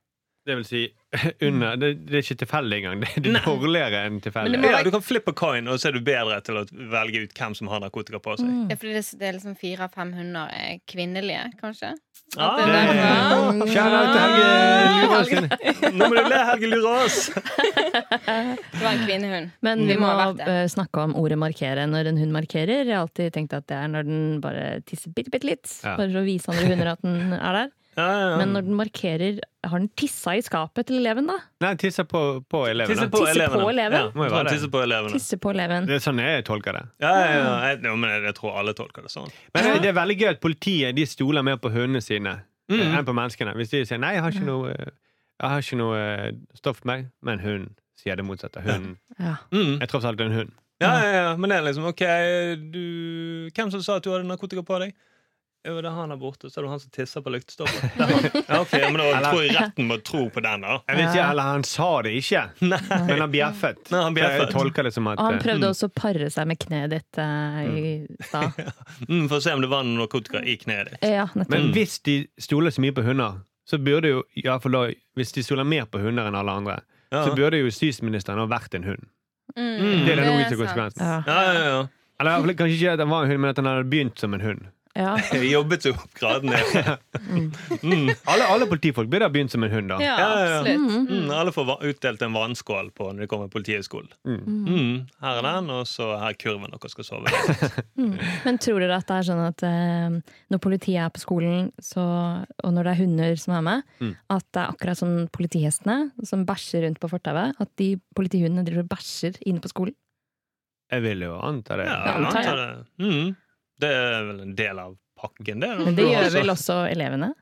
B: Det vil si under Det, det er ikke tilfeldig engang. Det det er dårligere enn tilfeldig.
C: Men det må-
E: Ja, du kan flippe coin, og så er du bedre til å velge ut hvem som har narkotika på
D: Mm,
E: seg.
C: Ja, fordi det, det er liksom fire av fem hunder er kvinnelige, kanskje?
E: Ah,
C: det er
E: det-
C: derfor.
B: Kjære til Helge Luråsen.
E: Nå må du le, Helge Lurås!
C: Det var en kvinnehund.
D: Men
C: Det
D: vi må
C: må ha vært det.
D: eh, snakke om ordet markere når en hund markerer. Jeg har alltid tenkt at det er når den bare tisser bitte, bitte litt,
B: Ja.
D: for å vise andre hunder at den er der.
E: Ja, ja,
D: Men
E: ja.
D: når den markerer, har den tissa i skapet til eleven da?
B: Nei, tisser på, på elevene.
E: Tisse på
D: Tisse på
E: elevene.
D: eleven?
E: Ja,
B: Må jo
E: sånn,
B: være det.
E: tisse på elevene.
D: Tisser på eleven.
B: Det er sånn jeg tolker det.
E: Ja, ja, ja. Jeg, jo, men jeg, jeg tror alle tolker det sånn.
B: Men det, det er veldig gøy at politiet de stoler mer på hundene sine eh,
E: Mhm.
B: enn på menneskene. Hvis de sier 'nei, jeg har ikke noe, eh, jeg har ikke noe eh, stoff på meg', men hunden sier det motsatte. Hunden.
D: Ja.
E: Mm.
B: Jeg er tross alt en hund.
E: Ja, ja, ja. Men det er liksom OK, du Hvem som sa at du hadde narkotika på deg? Jo, det er han der borte. Så er det han som tisser på lyktestolpen. Det er han. Ja, ok, ja, men da tror jeg retten må tro på den, da.
B: Jeg vet ikke, eller Han sa det ikke, men han bjeffet.
E: Nei, han
B: Så Jeg
E: bjeffet.
B: tolker det som at
D: Og han
B: eh,
D: prøvde også å pare seg med kneet ditt eh, i stad.
E: Mm, for å se om det var noe narkotika i kneet ditt.
D: Ja, nettopp.
B: Men hvis de stoler så mye på hunder, så burde jo i hvert fall da, Hvis de stoler mer på hunder enn alle andre,
E: Ja.
B: så burde jo justisministeren ha vært en hund.
C: Mm.
B: Det er den
C: Det er
B: logiske
C: sant.
B: konsekvensen.
D: Ja.
E: Ja, ja, ja.
B: Eller i hvert fall kanskje ikke at han var en hund, men at han hadde begynt som en hund.
D: Ja.
E: Jeg jobbet jo opp graden ned.
D: Mm.
E: Mm.
B: Alle, alle politifolk burde ha begynt som en hund, da.
C: Ja,
E: Ja, ja, ja.
C: absolutt.
E: Mm, alle får va- utdelt en vannskål på når de kommer på Politihøgskolen. Mm, her er den, og så her er kurven dere skal sove i.
D: Mm. Men tror dere at det er sånn at eh, når politiet er på skolen, så, og når det er hunder som er med,
B: Mm.
D: at det er akkurat som politihestene som bæsjer rundt på fortauet? At de politihundene driver og bæsjer inne på skolen?
B: Jeg vil jo anta det.
E: Ja,
D: Ja, antar jeg.
E: antar det. Mm, det er vel en del av pakken, det. da.
D: Men det gjør
E: Altså,
D: vel også elevene?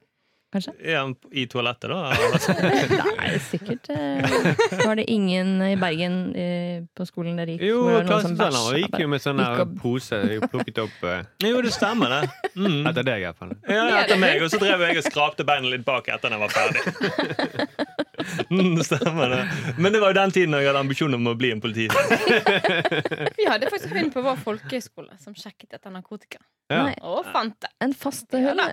D: Kanskje?
E: ja, I toalettet, da? Altså. eller?
D: Nei, sikkert. eh, Var det ingen i Bergen eh, på skolen der gikk
B: Jo,
D: hvor det var noen som
B: klasseselgeren vår gikk jo
D: bæsja?
B: med sånn her
D: Gikk og-
B: pose plukket opp eh,
E: Jo, det stemmer, det. Mm.
B: etter deg, i hvert fall.
E: Ja, etter meg, og så drev jeg og skrapte beina litt bak etter den var ferdig. Mm, stemmer det. Men det var jo den tiden jeg hadde ambisjoner om å bli en politi.
C: Vi hadde faktisk hund på vår folkehøyskole som sjekket etter narkotika.
B: Ja.
D: Nei,
C: Og fant det.
D: en fast hund?
C: Ja,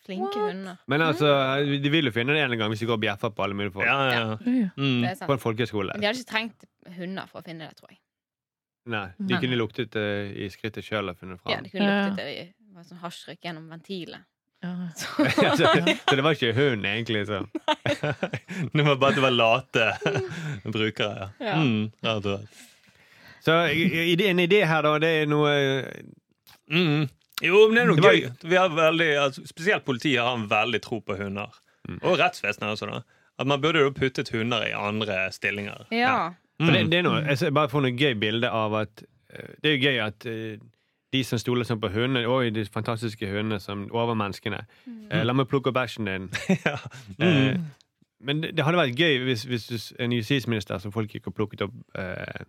C: Flinke hunder.
B: Men
D: Mm.
B: altså, de vil jo finne det en gang hvis de går og bjeffer på alle mulige folk.
E: Ja, ja, ja. Mm.
C: Det er
B: På
C: sant.
B: en folkehøyskole.
C: Men de hadde ikke trengt hunder for å finne det, tror jeg.
B: Nei, de
D: Nei.
B: kunne luktet eh, i skrittet sjøl og funnet
C: Ja,
B: fram.
C: de kunne
D: Ja.
C: luktet det i det var sånn hasjrøyk gjennom ventilet.
D: Ja.
B: så, så det var ikke hun, egentlig. Så.
E: Det var bare at det var late brukere. Ja.
C: Ja.
E: Mm, rett og slett.
B: så i- i- en idé her, da, det er noe
E: Mm. Jo, men det er
B: Det
E: noe
B: var-
E: gøy. Vi har veldig, altså, spesielt politiet har en veldig tro på hunder.
B: Mm.
E: Og rettsvesenet også. da At Man burde jo puttet hunder i andre stillinger.
C: Ja.
B: For
E: Mm.
B: det, det er noe, jeg ser- bare får noe gøy bilde av at eh, Det er jo gøy at eh, de som stoler sånn på hundene Oi, de fantastiske hundene som over menneskene. Eh, la meg plukke opp bæsjen din.
E: Ja.
B: Eh, men det, det hadde vært gøy hvis, hvis du, s- en justisminister som folk gikk og plukket opp eh,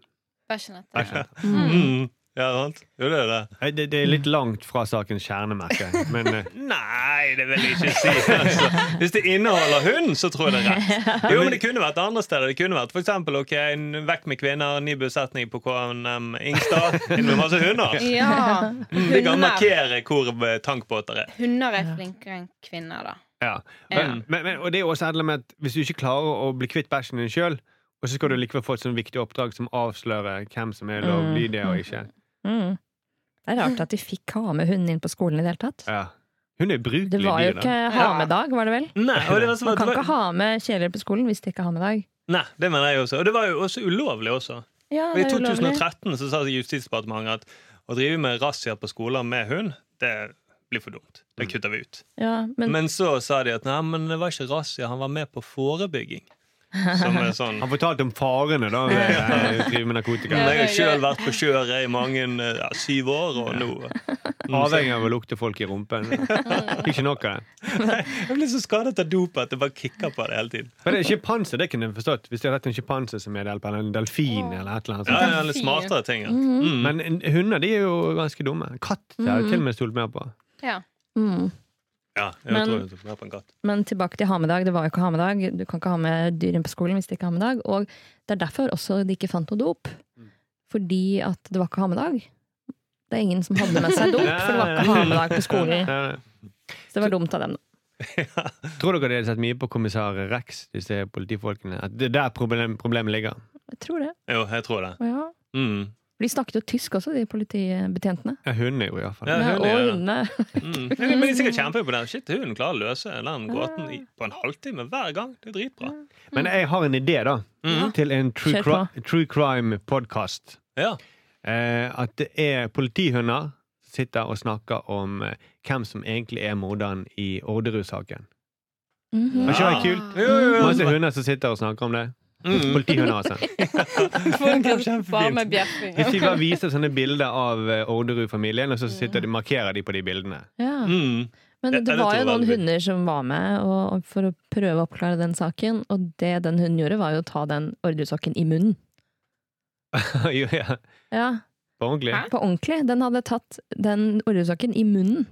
C: Bæsjen etter.
B: bæsjen.
E: Mm. Ja, sant? Jo, det er det.
B: Nei, eh, Det, det er litt langt fra sakens kjerne, merker jeg. Men eh,
E: Nei, det vil jeg ikke si. Altså. Hvis det inneholder hund, så tror jeg det er rett. Jo, men Det kunne vært andre steder. Det kunne vært for eksempel, ok, en Vekk med kvinner, ny besetning på KNM Ingstad. Inn med masse hunder.
C: Ja.
E: Vi kan
C: Hunder,
E: markere hvor eh, tankbåter er.
C: hunder er flinkere enn kvinner, da.
B: Ja.
C: Ja.
B: Men, men, men, og det er også et eller annet med at hvis du ikke klarer å bli kvitt bæsjen din sjøl, og så skal du likevel få et sånn viktig oppdrag som avslører hvem som er lovlydig og ikke.
D: Mm. Det er rart at de fikk ha med hunden inn på skolen i det hele tatt.
B: Ja. Hun er ubrukelig
D: Det var jo
B: dyr,
D: ikke
B: da.
D: ha med-dag, var det vel?
E: Nei, og det var så-
D: Man kan
E: det var-
D: ikke ha med kjæler på skolen hvis det ikke er ha med-dag.
E: Nei, det mener jeg også. Og det var jo også ulovlig også.
D: Ja,
E: Og I 2013 så sa Justisdepartementet at å drive med razzia på skoler med hund, det blir for dumt. Det kutter vi ut.
D: Ja, men,
E: Men så sa de at nei, men det var ikke razzia, han var med på forebygging. Som er sånn
B: Han fortalte om farene da ved eh, å drive med narkotika.
E: Jeg har sjøl vært på kjøret i mange eh, ja, syv år, og nå Mm. nå ser
B: Avhengig av å lukte folk i rumpen. Ikke nok av det.
E: Jeg jeg blir så skadet av dop at det bare kicker på det hele tiden.
B: Men det er sjimpanse, det kunne jeg forstått. Hvis de hadde hatt en sjimpanse som er hjelp, eller en delfin eller et eller annet.
E: Ja,
B: sånt.
E: ja, litt smartere ting. Ja.
D: Mhm.
E: Mm.
B: Men en- hunder de er jo ganske dumme. Katt det har jeg til og med stolt mer på.
C: Ja.
D: mm.
E: Ja, jeg
D: Men-
E: tror jeg tok mer på en katt.
D: men tilbake til ha-med-dag. Det var jo ikke ha-med-dag. Du kan ikke ha med dyr inn på skolen hvis det ikke er ha-med-dag. Og det er derfor også de ikke fant noe dop.
E: Mm.
D: Fordi at det var ikke ha-med-dag. Det er ingen som hadde med seg dop, for det var ikke ha-med-dag på skolen.
B: Ja.
D: Så det var dumt av dem, da.
B: Tror dere de hadde sett mye på kommissær Rex, disse politifolkene? At det er der problem, problemet ligger?
D: Jeg tror det.
E: Jo, jeg tror det.
D: Og ja.
E: Mm.
D: For De snakket jo tysk også, de politibetjentene.
B: Ja, hundene gjorde iallfall
E: Ja,
B: det.
E: hun
D: Ja, og
E: er-
D: hundene.
E: Mm. Men men de er sikkert kjempeimponert. Shit, hun klarer å løse den gåten i, på en halvtime hver gang. Det er dritbra.
B: Men jeg har en idé, da.
E: Mm.
B: Til en true,
D: Kjør på.
B: cri true crime podcast.
E: Ja.
B: Eh, at det er politihunder som sitter og snakker om eh, hvem som egentlig er morderen i Orderud-saken.
D: Mhm.
B: Har ikke det vært
C: Ja.
B: kult?
E: Jo, jo, jo.
B: Masse hunder som sitter og snakker om det.
E: Mm.
B: Politihunder, altså.
C: Bare med bjeffing.
B: Hvis de bare viser sånne bilder av eh, Orderud-familien, og så sitter de, markerer de på de bildene.
D: Ja.
E: Mm.
D: Men
E: Ja,
D: det,
E: det tror
D: var jo
E: jeg
D: noen
E: veldig.
D: hunder som var med og, og for å prøve å oppklare den saken, og det den hunden gjorde, var jo å ta den ordresokken i munnen.
B: Jo, ja.
D: Ja,
B: På ordentlig.
C: Hæ?
D: På ordentlig. Den hadde tatt den ordresokken i munnen.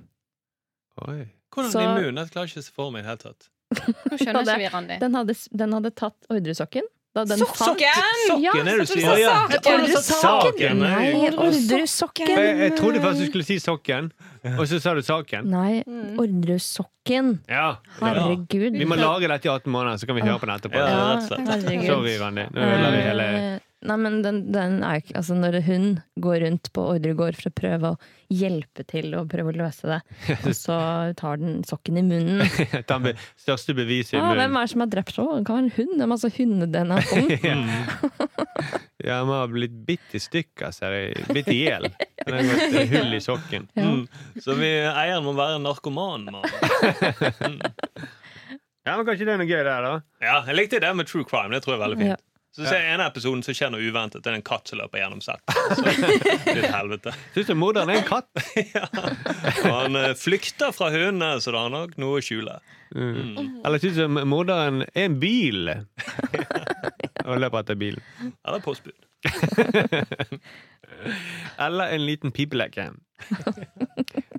B: Oi.
E: Hvordan
D: Så-
E: immun? Jeg klarer ikke å se for meg i det hele tatt.
C: Nå skjønner
D: Ja,
C: ikke vi, Randi.
D: Den hadde, den hadde tatt ordresokken. Da den falt-
C: Sokken!
D: Ja,
E: Sokken er det du
C: så du
E: sier.
C: sa
E: Ja, ja.
C: saken.
E: Saken,
D: Ordresokken!
E: nei.
D: Nei,
B: Jeg,
D: ordresokken!
B: jeg trodde først du skulle si sokken, og så sa du saken.
D: Nei,
C: Mm.
D: ordresokken.
B: Ja.
D: Herregud.
B: Vi må lage dette i 18 måneder, så kan vi høre på den etterpå.
E: Ja. rett og slett.
D: herregud.
B: Sorry, Randi. Nå ødela vi hele
D: Eh, Nei, men den, den er jo ikke Altså, når hun går rundt på ordregård for å prøve å hjelpe til og prøve å løse det, og så tar den sokken i munnen
B: den be- største beviset i
D: ah, Eh. Hvem
B: munnen.
D: er det som har drept så? Det kan være en hund. Det er masse hunder-DNA på den.
B: Ja, vi har blitt bitt i stykker, ser jeg. Bitt i hjel. Den har gått eh, hull i sokken.
E: Mm. Så vi, eieren må være en narkoman. mann.
B: Ja, men Kanskje det er noe gøy der, da?
E: Ja, jeg likte det med true crime. Det tror jeg er veldig fint.
D: Ja.
E: Så ser jeg en av episoden som skjer noe uventet. Det er en katt som løper gjennom sett. Så det blir et helvete.
B: Syns du morderen er en katt?
E: Og han eh, flykter fra hundene, så da har han nok noe å skjule.
B: Mm. Eller syns du morderen er en bil? Og løper etter bilen.
E: Eller postbud.
B: Eller en liten pipeleke.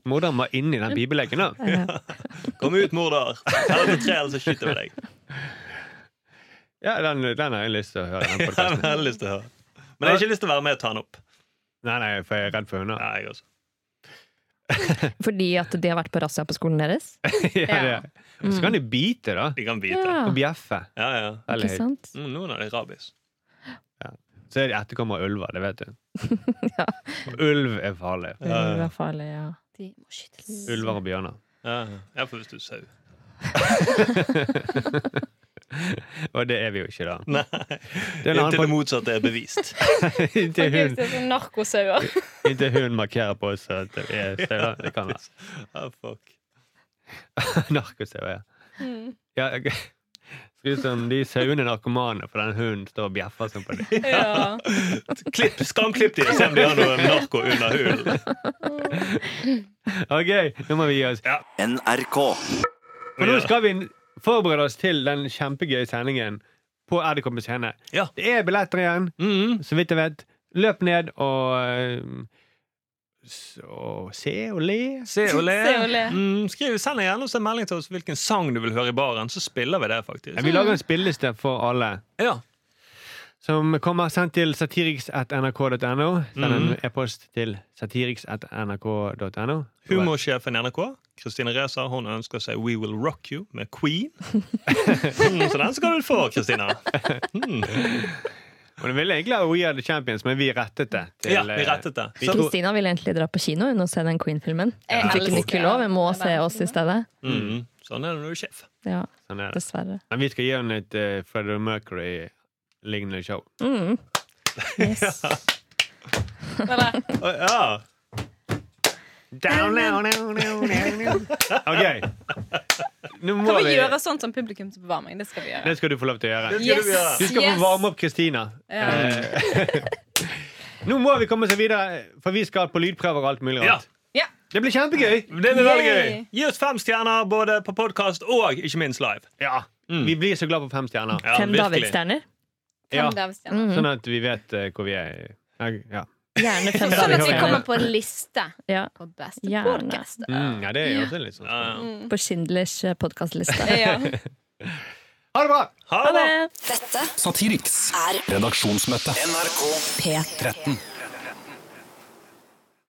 B: Morderen var inni den pipeleken, da.
E: Kom ut, morder! Her er det tre, eller så skyter vi deg.
B: Ja, den, den har jeg lyst til å høre. Den
E: Jeg har
B: podcasten.
E: veldig lyst til å høre. Men jeg har ikke lyst til å være med og ta den opp.
B: Nei, nei, for jeg er redd for hunder.
E: Nei, jeg også.
D: Fordi at de har vært på razzia på skolen deres?
B: Ja, det. Så kan de bite, da.
E: De kan bite.
D: Ja,
B: Og bjeffe.
E: Ja, ja.
B: Veldig høyt.
D: ikke sant?
E: Mm, noen av de har rabies.
B: Så er de etterkommere av ulver, det vet du. Og ulv er farlig.
D: Det
E: ja.
D: var farlig, ja.
C: De må skytes.
B: Ulver og bjørner.
E: Ja, ja, for hvis du er sau.
B: Og det er vi jo ikke, da.
E: Nei.
B: Det er en
E: Inntil det
B: annen
E: motsatte er bevist.
B: pod- Inntil
C: Okay,
B: hun,
C: det er sånn narkosauer.
B: inntil hun markerer på oss at vi er støvler. Det kan være.
E: Ja, fuck.
B: Narkos-TV. Ja, ok. Ser ut som de sauene er narkomane, for den hunden står og bjeffer sånn på dem.
C: Ja.
E: Klipp, Skamklipp de og se om de har noe narko under hulen.
B: Ok, nå må vi gi oss.
A: NRK.
B: For nå skal vi forberede oss til den kjempegøye sendingen på RDK på scene.
E: Ja.
B: Det er billetter igjen,
E: Mhm.
B: så vidt jeg vet. Løp ned og eh, s- og se og le.
E: Se og le.
C: Se og le.
E: Mm, skriv, send gjerne oss en melding til oss hvilken sang du vil høre i baren, så spiller vi det, faktisk.
B: Vi lager en spilleliste for alle.
E: Ja.
B: Som kommer sendt til satiriks.nrk.no. Send en
E: Mhm.
B: e-post til satiriks.nrk.no.
E: Humorsjefen i NRK, Kristine Reser, hun ønsker seg We Will Rock You med Queen. Mm, så den skal du få, Kristina. Mm.
B: Og det ville egentlig ha We Are The Champions, men vi rettet det. til, eh,
E: Ja, eh, vi rettet det.
B: Vi
E: Så,
B: tror-
D: Kristina ville egentlig dra på kino hun, og se den Queen-filmen.
C: Jeg
D: Hun fikk hun
C: elsker
D: ikke lov. Vi må
C: den.
D: se oss i stedet.
E: mm, sånn er det når du er sjef.
D: Ja,
B: eh, Sånn er det.
D: dessverre.
B: Men vi skal gi henne et uh, Freddie Mercury-lignende show.
D: Mm. Yes.
C: Eller,
E: Å, ja.
B: Down, down, down, down, down. OK. Nå
C: kan
B: må
C: vi
B: vi
C: gjøre sånn som publikumsoppvarming? Det skal vi gjøre.
B: Det skal du få lov til å gjøre.
E: Det skal vi gjøre.
B: Du skal få varme opp Kristina. Eh,
C: Ja.
B: Nå må vi komme oss videre, for vi skal på lydprøver og alt mulig
E: ja.
B: rart.
C: Ja.
B: Det blir kjempegøy!
E: Det blir veldig gøy.
C: Yay.
E: Gi oss fem stjerner både på podkast og ikke minst live.
B: Ja. Mm. Vi blir så glad for fem stjerner.
E: Ja,
D: Fem
E: virkelig.
D: davidsstjerner.
B: Ja.
C: Fem
D: Mm.
C: davidsstjerner.
B: Sånn at vi vet eh, hvor vi er. Ja.
D: Gjerne fem
C: Sånn at vi kommer
D: davidsstjerner.
C: på en liste
D: Ja.
C: på beste
D: Gjerne.
C: podkast.
B: Mm, ja, det er jo også litt sånn.
E: Ja, ja.
D: På Schindlers
C: eh,
D: podkastliste.
C: Ja.
B: Ha det bra!
E: Ha
D: Ha
E: det!
D: det!
F: Dette
A: Satiriks.
F: er
A: Redaksjonsmøte.
F: P13.